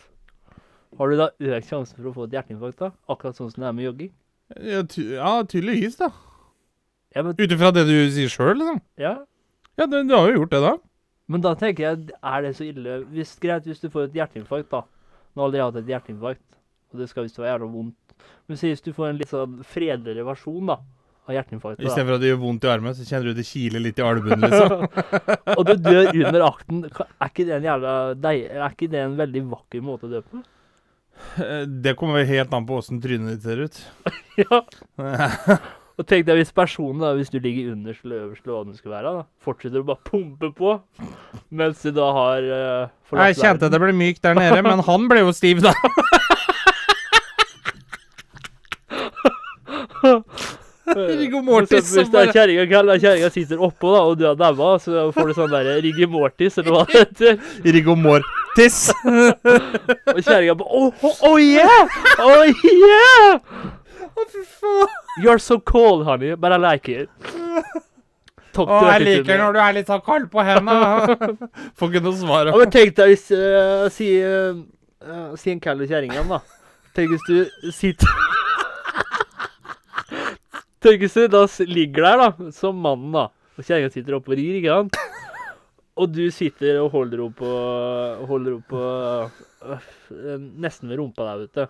Speaker 2: Har du da økt sjansen for å få et hjerteinfarkt, da? Akkurat sånn som det er med jogging?
Speaker 1: Ja, ty ja tydeligvis, da.
Speaker 2: Ja, men,
Speaker 1: Ut ifra det du sier sjøl, liksom.
Speaker 2: ja.
Speaker 1: Ja, du, du har jo gjort det, da.
Speaker 2: Men da tenker jeg, er det så ille? Hvis, greit hvis du får et hjerteinfarkt, da. Nå har jeg aldri hatt et hjerteinfarkt, og det skal visst være jævla vondt. Men si hvis du får en litt sånn fredeligere versjon da, av hjerteinfarktet, da.
Speaker 1: Istedenfor at det gjør vondt i armen, så kjenner du det kiler litt i albuen, *laughs* liksom.
Speaker 2: og du dør under akten, ka- er ikke det en jævla deig, er ikke det en veldig vakker måte å dø på?
Speaker 1: Eh, Det kommer vel helt an på åssen trynet ditt *laughs* ser ut.
Speaker 2: ja. Og tenk deg hvis personen, da, hvis du ligger underst eller øverst eller hva det skulle være, da, fortsetter å bare pumpe på, mens du da har eh, forlatt
Speaker 1: Jeg kjente
Speaker 2: verden.
Speaker 1: det ble mykt der nede, men han ble jo stiv, *laughs* da. *laughs* Riggo Mortis
Speaker 2: Hvis
Speaker 1: som
Speaker 2: det er
Speaker 1: bare
Speaker 2: kjerringa kaller kjerringa sitter oppå, da, og du har daua, så får du sånn der Riggy Mortis, eller hva det heter.
Speaker 1: Riggo *laughs* Mortis.
Speaker 2: Og kjerringa bare oh, oh, oh yeah! Oh yeah!
Speaker 1: Å, fy faen.
Speaker 2: You're so cold, honey, but I like it. Topp
Speaker 1: Å, jeg
Speaker 2: dørtetur
Speaker 1: liker
Speaker 2: med-
Speaker 1: når du er litt sånn kald på henda. *laughs* Får ikke noe svar.
Speaker 2: Ja, men tenk deg hvis eh, Si, eh, eh, si en kall kjerring igjen, da. Tenk hvis du sitter *laughs* Tenk hvis du da s- ligger der, da, som mannen, da, og kjerringa sitter oppe og rir, ikke sant? Og du sitter og holder opp og holder opp og øh, Nesten ved rumpa der, vet du.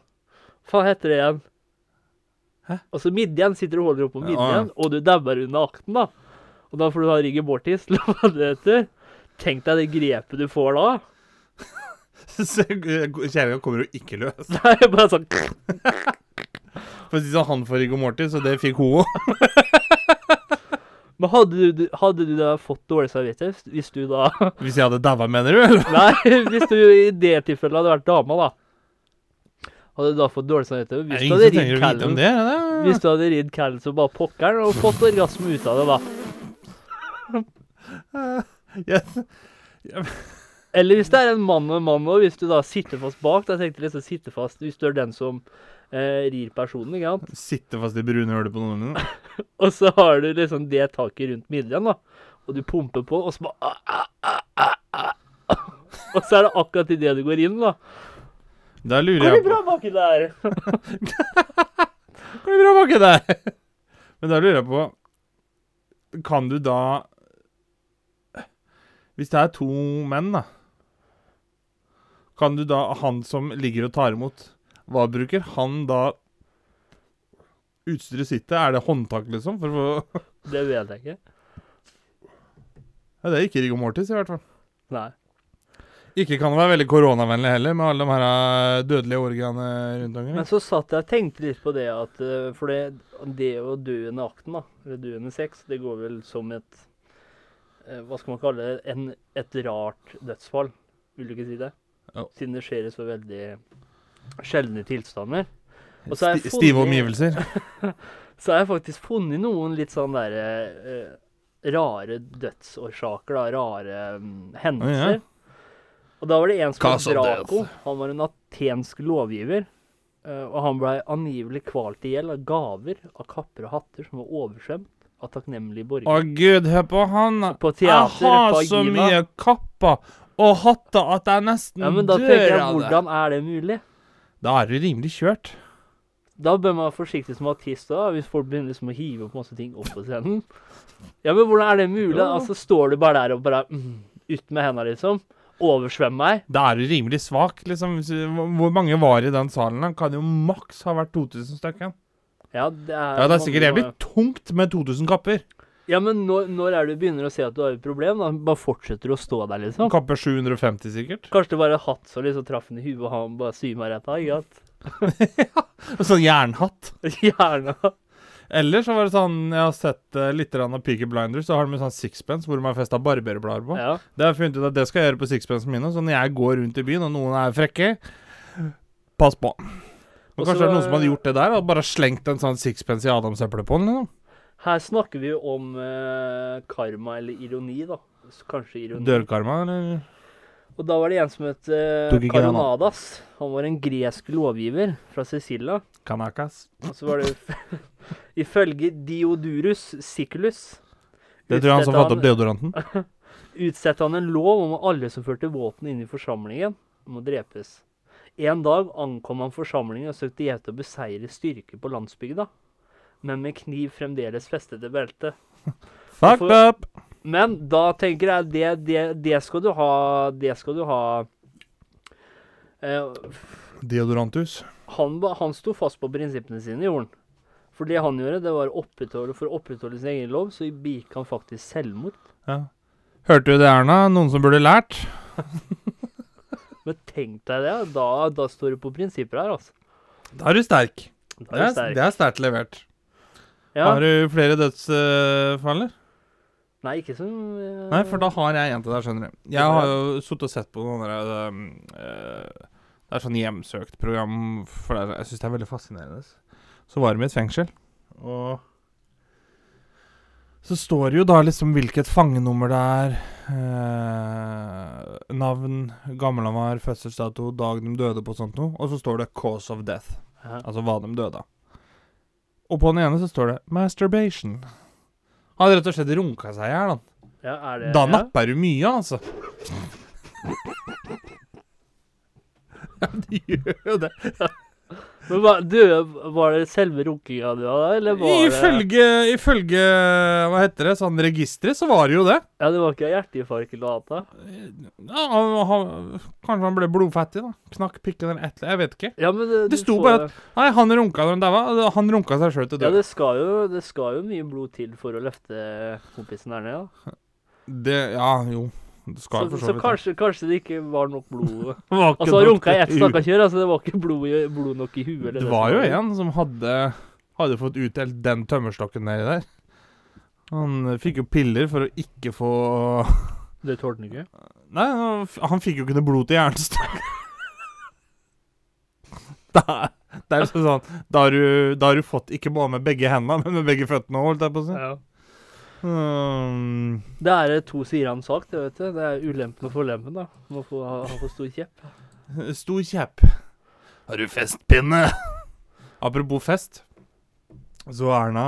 Speaker 2: Hva heter det igjen?
Speaker 1: Hæ?
Speaker 2: Og så midjen sitter og holder opp på
Speaker 1: Ja, ja.
Speaker 2: midjen, og du dauer under akten, da. Og da får du ha rigge mortis, *laughs* eller hva det heter. Tenk deg det grepet du får da.
Speaker 1: Så, eh, Kjerringa kommer jo ikke løs.
Speaker 2: *laughs* Det er jo bare sånn
Speaker 1: For å si det sånn, han får Riggo Mortis, og det fikk hun òg.
Speaker 2: Men hadde du, hadde du da fått dårlig samvittighet hvis du da *laughs*
Speaker 1: Hvis jeg hadde daua, mener du? eller?
Speaker 2: Nei, hvis du i det tilfellet hadde vært dama, da. Hadde du da fått dårlig samvittighet
Speaker 1: Er
Speaker 2: hvis
Speaker 1: det
Speaker 2: du
Speaker 1: ingen som trenger å
Speaker 2: hadde ridd
Speaker 1: vite om
Speaker 2: Callen
Speaker 1: det? er det?
Speaker 2: Hvis du hadde ridd Callen som bare pokkeren og fått orgasme ut av det, da.
Speaker 1: Ja.
Speaker 2: Eller hvis det er en mann og en mann og hvis du da sitter fast bak. Da tenkte jeg liksom sitte fast hvis du er den som eh, rir personen, ikke sant.
Speaker 1: Sitte fast i brune hølet på noen dine.
Speaker 2: Og så har du liksom det taket rundt midjen, da. Og du pumper på, og så bare ah, ah, ah, *laughs* ah, ah. Og så er det akkurat idet du går inn, da.
Speaker 1: Da lurer
Speaker 2: Går
Speaker 1: jeg
Speaker 2: det bra baki der?
Speaker 1: Går det bra baki der? *laughs* Men da lurer jeg på Kan du da Hvis det er to menn, da Kan du da Han som ligger og tar imot, hva bruker han da utstyret sitt til? Er det håndtak, liksom? For å få *laughs*
Speaker 2: Det vet jeg ikke.
Speaker 1: ja, Det er ikke Riggo Mortis, i hvert fall.
Speaker 2: Nei.
Speaker 1: Ikke kan det være veldig koronavennlig heller, med alle de her eh, dødelige orgiene rundt omkring.
Speaker 2: Men så satt jeg og tenkte litt på det at eh, For det, det å dø under akten, da, eller dø under sex, det går vel som et eh, Hva skal man kalle det? En, et rart dødsfall. Vil du ikke si det?
Speaker 1: Jo.
Speaker 2: Siden det skjer i så veldig sjeldne tilstander. Og så har jeg
Speaker 1: Sti- Stive
Speaker 2: funnet-
Speaker 1: omgivelser.
Speaker 2: Så har jeg faktisk funnet noen litt sånn derre eh, rare dødsårsaker, da. Rare mm,
Speaker 1: Å,
Speaker 2: hendelser.
Speaker 1: ja.
Speaker 2: Og da var det en som
Speaker 3: Cause
Speaker 2: het
Speaker 3: of
Speaker 2: Draco. Han var en atensk lovgiver. eh, og han blei angivelig kvalt i hjel av gaver av kapper og hatter som var oversvømt av takknemlige
Speaker 1: Å
Speaker 2: borgere.
Speaker 1: gud, hør på han. da.
Speaker 2: På
Speaker 1: Jeg
Speaker 2: teater,
Speaker 1: har
Speaker 2: på
Speaker 1: så
Speaker 2: Agiva.
Speaker 1: mye kapper og hatter at jeg nesten
Speaker 2: Ja, men da tenker
Speaker 1: dør
Speaker 2: jeg,
Speaker 1: av det.
Speaker 2: hvordan er det mulig?
Speaker 1: Da er du rimelig kjørt.
Speaker 2: Da bør man være forsiktig som artist da, hvis folk begynner liksom å hive opp masse ting opp på scenen. Ja, men hvordan er det mulig?
Speaker 1: Ja.
Speaker 2: Altså, står du bare der og bare mm, ut med hendene, liksom? Oversvøm meg?
Speaker 1: Da er du rimelig svak, liksom. Hvis du- hvor- Hvor mange var i den salen? da? Kan jo maks ha vært 2000 stykker.
Speaker 2: Ja, det er,
Speaker 1: Ja, det er sikkert
Speaker 2: mange-
Speaker 1: jævlig tungt med 2000 kapper.
Speaker 2: Ja, men når, når er det du begynner å se at du har et problem? da? Bare fortsetter du å stå der, liksom?
Speaker 1: Kapper 750, sikkert.
Speaker 2: Kanskje det var en hatt som liksom traff henne i huet, og han bare syma rett av, ikke sant?
Speaker 1: Sånn jernhatt.
Speaker 2: *laughs* Gjerne.
Speaker 1: Eller så var det sånn Jeg har sett eh, litt grann av Peaky Blinders, så har de en sånn sixpence hvor de har festa barberblader på.
Speaker 2: Ja.
Speaker 1: Det har jeg funnet ut at det skal jeg gjøre på sixpence mine, så når jeg går rundt i byen og noen er frekke, pass på. Men
Speaker 2: Og så-
Speaker 1: kanskje det er noen som hadde gjort det der, og bare slengt en sånn sixpence i adamseplet på den? Liksom.
Speaker 2: Her snakker vi jo om eh, karma eller ironi, da. Så kanskje ironi.
Speaker 1: Dørkarma, eller?
Speaker 2: Og da var det en som het eh,
Speaker 1: Tok ikke den, da.
Speaker 2: Karonadas. Han var en gresk lovgiver fra Sicilia.
Speaker 1: Kanakas.
Speaker 2: Og så var det *laughs* ifølge Diodorus Siculus
Speaker 1: Det tror jeg han som fant
Speaker 2: utstedte
Speaker 1: opp
Speaker 2: *laughs*
Speaker 1: deodoranten.
Speaker 2: utstedte han en lov om at alle som førte våpen inn i forsamlingen, må drepes. En dag ankom han forsamlingen og søkte hjelp til å beseire styrker på landsbygda, men med kniv fremdeles festet til beltet.
Speaker 1: Fucked up!
Speaker 2: Men da tenker jeg det, det, det skal du ha Det skal du ha eh,
Speaker 1: Deodorantus.
Speaker 2: han, ba- han sto fast på prinsippene sine, gjorde han. For det han gjorde, det var å opprettholde, for å opprettholde sin egen lov, så begikk han faktisk selvmord.
Speaker 1: Ja. Hørte du det, Erna? Noen som burde lært?
Speaker 2: Men tenk deg det, da, da står du på prinsipper her, altså.
Speaker 1: Da er du sterk.
Speaker 2: Da
Speaker 1: Det
Speaker 2: er
Speaker 1: er,
Speaker 2: du sterk.
Speaker 1: det er sterkt levert.
Speaker 2: Ja.
Speaker 1: Har du flere dødsfaller?
Speaker 2: Nei, ikke som eh,
Speaker 1: Nei, for da har jeg en til deg, skjønner du. Jeg har jo sittet og sett på noen av de um, eh, Det er sånn hjemsøkt program, for det er, jeg syns det er veldig fascinerende. Så var de i et fengsel, og så står det jo da liksom hvilket fangenummer det er, eh, navn, gammel han var, fødselsdato, dag de døde på og sånt noe, og så står det 'cause of death',
Speaker 2: ja.
Speaker 1: altså hva de døde av. Og på den ene så står det 'masturbation'. Han hadde rett og slett runka seg i hjel, han.
Speaker 2: ja, er det,
Speaker 1: Da
Speaker 2: ja.
Speaker 1: napper du mye, altså. Ja, de gjør jo det.
Speaker 2: Men hva, du, var det selve runkinga du hadde, eller var det
Speaker 1: Ifølge, ifølge Hva heter det? Sånn registeret, så var det jo det.
Speaker 2: Ja, det var ikke hjerteinfarkt eller noe annet? da?
Speaker 1: Ja, han- han, kanskje han ble blodfattig, da. Knakk pikken eller et eller Jeg vet ikke.
Speaker 2: Ja, men det,
Speaker 1: Det
Speaker 2: du
Speaker 1: sto
Speaker 2: får-
Speaker 1: bare Nei, han runka da han daua. Han runka seg sjøl til
Speaker 2: ja,
Speaker 1: døde.
Speaker 2: det skal, jo, det skal jo mye blod til for å løfte kompisen der nede. da.
Speaker 1: Det Ja, jo. Det skal
Speaker 2: Så,
Speaker 1: jo for
Speaker 2: så
Speaker 1: så vidt
Speaker 2: kanskje, kanskje det ikke var nok
Speaker 1: Var
Speaker 2: blod.
Speaker 1: ikke
Speaker 2: Altså, han
Speaker 1: nok
Speaker 2: runka i ett
Speaker 1: i huet.
Speaker 2: stakkars kjør, altså det var ikke blod, i, blod nok i huet. eller
Speaker 1: Det
Speaker 2: som
Speaker 1: var jo en som hadde Hadde fått utdelt den tømmerstokken nedi der. Han fikk jo piller for å ikke få
Speaker 2: Det tålte han ikke.
Speaker 1: Nei, han f- han fikk jo ikke noe blod til *laughs* hjernestakk. det er, det er liksom sånn Da har du, da har du fått ikke bare med begge hendene, men med begge føttene òg, holdt jeg på å si. Mm,
Speaker 2: Det er eh, to sider av en sak, det, vet du. Det er ulempen og forlempen, da. Må få ha, ha for stor kjepp.
Speaker 1: stor kjepp. Har du festpinne? Apropos fest. Så har Erna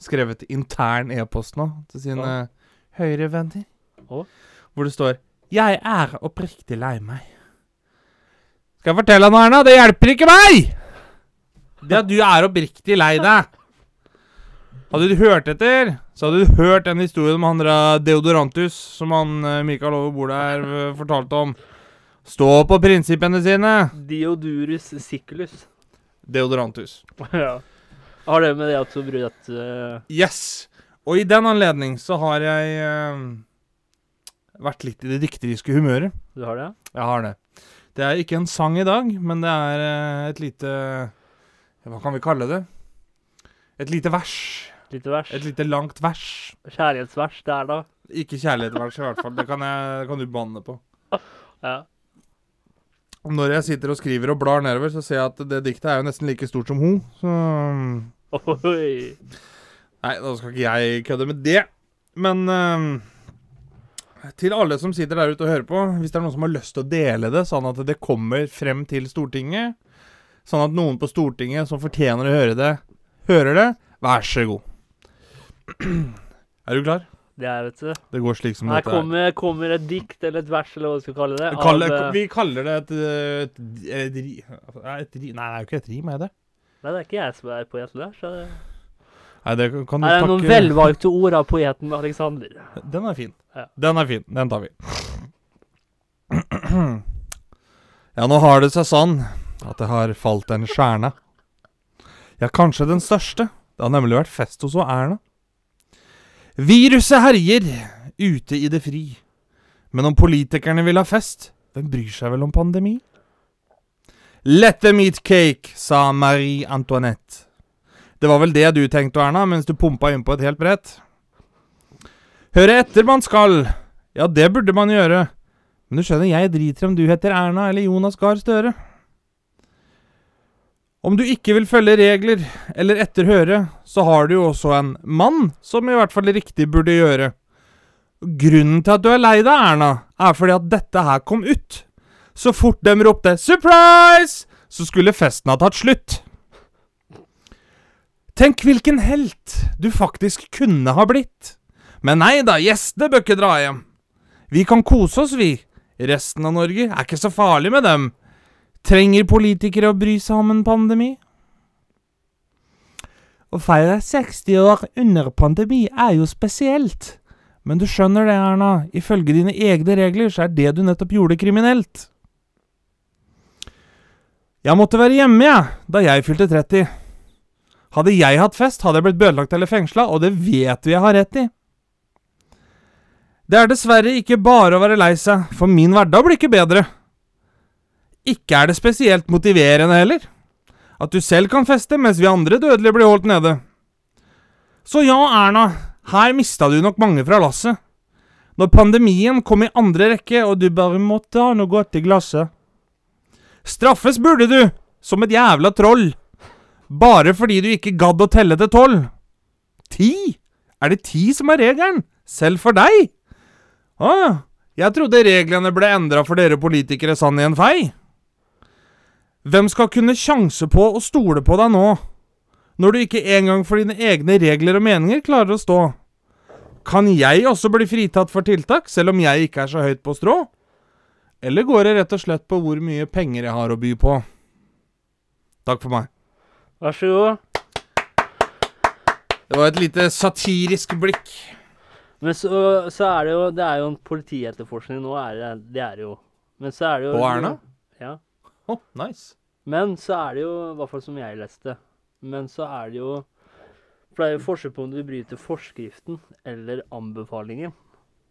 Speaker 1: skrevet intern e-post nå til sine
Speaker 2: Ja.
Speaker 1: høyrevenner.
Speaker 2: Å?
Speaker 1: Hvor det står 'Jeg er oppriktig lei meg'. Skal jeg fortelle deg noe, Erna? Det hjelper ikke meg! Det at du er oppriktig lei deg. Hadde du hørt etter, så hadde du hørt den historien om han der eh, Deodorantus som han eh, Mikael over bordet her eh, fortalte om. Stå på prinsippene sine!
Speaker 2: Diodurus siculus.
Speaker 1: Deodorantus.
Speaker 2: *laughs* ja. Har det med det at du bryr deg at eh,
Speaker 1: Yes. Og i den anledning så har jeg eh, vært litt i det dikteriske humøret.
Speaker 2: du har det?
Speaker 1: Jeg har det. Det er ikke en sang i dag, men det er eh, et lite Hva kan vi kalle det? Et lite vers.
Speaker 2: Lite vers?
Speaker 1: Et lite langt vers.
Speaker 2: Kjærlighetsvers der, da.
Speaker 1: Ikke kjærlighetsvers, i hvert fall. Det kan, jeg, det kan du banne på.
Speaker 2: Ja.
Speaker 1: Når jeg sitter og skriver og blar nedover, så ser jeg at det diktet er jo nesten like stort som ho. Så
Speaker 2: Oi.
Speaker 1: Nei, da skal ikke jeg kødde med det. Men ehm, til alle som sitter der ute og hører på, hvis det er noen som har lyst til å dele det, sånn at det kommer frem til Stortinget, sånn at noen på Stortinget som fortjener å høre det, hører det, vær så god. Er du klar?
Speaker 2: Det er, vet du.
Speaker 1: Det går slik som
Speaker 2: Her
Speaker 1: dette er.
Speaker 2: kommer, kommer et dikt eller et vers, eller hva du skal kalle det.
Speaker 1: Kall,
Speaker 2: av, eh,
Speaker 1: vi kaller det et, et, et, ri- et, ri- Nei, det er jo ikke et rim, er det?
Speaker 2: Nei, det er ikke jeg som er poet der. Så det...
Speaker 1: Nei, eh. det kan du
Speaker 2: Her er noen
Speaker 1: takke
Speaker 2: velvalgte ord av poeten Alexander.
Speaker 1: Den er fin.
Speaker 2: Ja.
Speaker 1: Den er fin. Den tar vi. Ja, nå har det seg sånn at det har falt en stjerne. Ja, kanskje den største. Det har nemlig vært fest hos Erna. Viruset herjer ute i det fri. Men om politikerne vil ha fest, hvem bryr seg vel om pandemi? Let them eat cake, sa Marie Antoinette. Det var vel det du tenkte, Erna, mens du pumpa innpå et helt brett. Høre etter man skal. Ja, det burde man gjøre. Men du skjønner, jeg driter om du heter Erna eller Jonas Gahr Støre. Om du ikke vil følge regler eller etterhøre, så har du jo også en mann som i hvert fall riktig burde gjøre. Grunnen til at du er lei deg, Erna, er fordi at dette her kom ut. Så fort dem ropte 'surprise', så skulle festen ha tatt slutt. Tenk hvilken helt du faktisk kunne ha blitt. Men nei da, gjestene bør ikke dra hjem. Vi kan kose oss, vi. Resten av Norge er ikke så farlig med dem. Trenger politikere å bry seg om en pandemi? Å feire 60 år under pandemi er jo spesielt. Men du skjønner det, Erna. Ifølge dine egne regler så er det du nettopp gjorde, kriminelt. Jeg måtte være hjemme, jeg, da jeg fylte 30. Hadde jeg hatt fest, hadde jeg blitt bødelagt eller fengsla, og det vet vi jeg har rett i. Det er dessverre ikke bare å være lei seg, for min hverdag blir ikke bedre. Ikke er det spesielt motiverende heller. At du selv kan feste, mens vi andre dødelige blir holdt nede. Så ja, Erna, her mista du nok mange fra lasset. Når pandemien kom i andre rekke, og du bare måtte ha noe godt i glasset. Straffes burde du, som et jævla troll. Bare fordi du ikke gadd å telle til tolv. Ti? Er det ti som er regelen? Selv for deg? Å ja. Jeg trodde reglene ble endra for dere politikere sann i en fei. Hvem skal kunne sjanse på å stole på deg nå, når du ikke engang for dine egne regler og meninger klarer å stå? Kan jeg også bli fritatt for tiltak, selv om jeg ikke er så høyt på strå? Eller går det rett og slett på hvor mye penger jeg har å by på? Takk for meg.
Speaker 2: Vær så god.
Speaker 1: Det var et lite satirisk blikk.
Speaker 2: Men så, så er det jo Det er jo en politietterforskning nå, er det, det er det jo. Men så er det jo
Speaker 1: På Erna?
Speaker 2: Ja.
Speaker 1: Oh, nice.
Speaker 2: Men så er det jo, i hvert fall som jeg leste Men så er det jo For det er jo forskjell på om du bryter forskriften eller anbefalingen.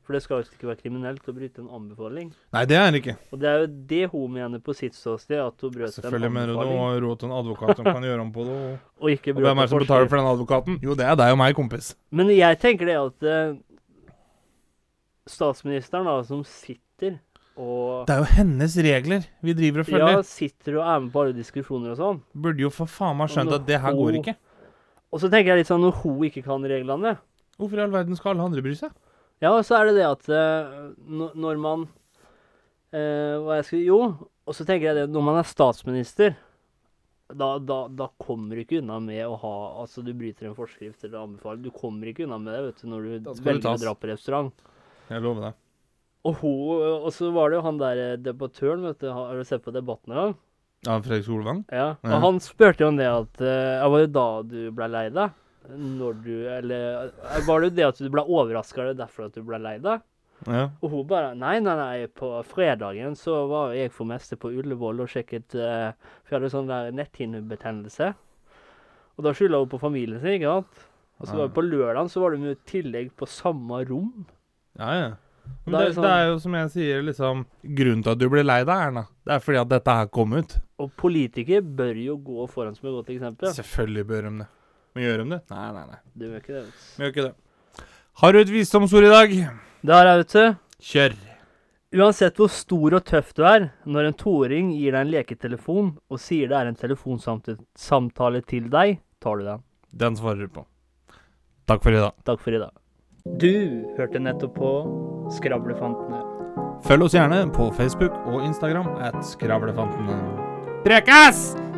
Speaker 2: For det skal jo ikke være kriminelt å bryte en anbefaling.
Speaker 1: Nei, det er det ikke.
Speaker 2: Og det er jo det hun mener på sitt ståsted, at hun brøt en
Speaker 1: Selvfølgelig mener du
Speaker 2: anbefaling.
Speaker 1: noe råd til en advokat som kan gjøre om på det. og-
Speaker 2: Og ikke
Speaker 1: Og hvem
Speaker 2: brøt
Speaker 1: er det
Speaker 2: en
Speaker 1: som betaler
Speaker 2: forskrift.
Speaker 1: for den advokaten? Jo, det er deg og meg, kompis.
Speaker 2: Men jeg tenker det at eh, statsministeren, da, som sitter og
Speaker 1: Det er jo hennes regler vi driver og følger.
Speaker 2: Ja, sitter og er med på alle diskusjoner og sånn.
Speaker 1: Burde jo for faen meg skjønt at det her går ikke.
Speaker 2: Og så tenker jeg litt sånn når hun ikke kan reglene,
Speaker 1: Hvorfor i all verden skal alle andre bry seg?
Speaker 2: Ja, og så er det det at eh, når når man eh, Hva jeg skulle Jo, og så tenker jeg det at når man er statsminister, da, da, da kommer du ikke unna med å ha Altså, du bryter en forskrift eller anbefaling. Du kommer ikke unna med det, vet du, når du
Speaker 1: Da skal det
Speaker 2: velger å
Speaker 1: tas.
Speaker 2: dra på restaurant.
Speaker 1: Jeg lover deg.
Speaker 2: Og, hun, og så var det jo han der eh, debattøren, vet du, har har du sett på Debatten en gang?
Speaker 1: Ja, Fredrik Solvang?
Speaker 2: Ja. Og
Speaker 1: Ja.
Speaker 2: han spurte jo om det at eh, ja, Var det da du ble lei deg? Når du Eller eh, var det jo det at du ble overraska derfor at du ble lei deg?
Speaker 1: Ja.
Speaker 2: Og hun bare Nei, nei, nei. På fredagen så var jeg for meste på Ullevål og sjekket eh, For jeg hadde sånn der netthinnebetennelse. Og da skylda hun på familien sin, ikke sant? Og så var det på lørdagen så var de jo i tillegg på samme rom.
Speaker 1: Ja, ja. Men
Speaker 2: Da er
Speaker 1: det,
Speaker 2: det sånn-
Speaker 1: det er jo som jeg sier, liksom Grunnen til at du blir lei deg, Erna, det er fordi at dette her kom ut.
Speaker 2: Og politikere bør jo gå foran som et godt eksempel.
Speaker 1: Selvfølgelig bør de det. Men gjør de det? Nei, nei, nei.
Speaker 2: Du gjør ikke det. vet
Speaker 1: Vi gjør ikke det. Har du et visdomsord i dag?
Speaker 2: du. Der er ute.
Speaker 1: Kjør.
Speaker 2: Uansett hvor stor og tøff du er, når en toåring gir deg en leketelefon og sier det er en telefonsamtale til deg, tar du den.
Speaker 1: Den svarer du på. Takk for i dag.
Speaker 2: Takk for i dag. Du hørte nettopp på Skravlefantene.
Speaker 1: Følg oss gjerne på Facebook og Instagram at Skravlefantene. Prekas!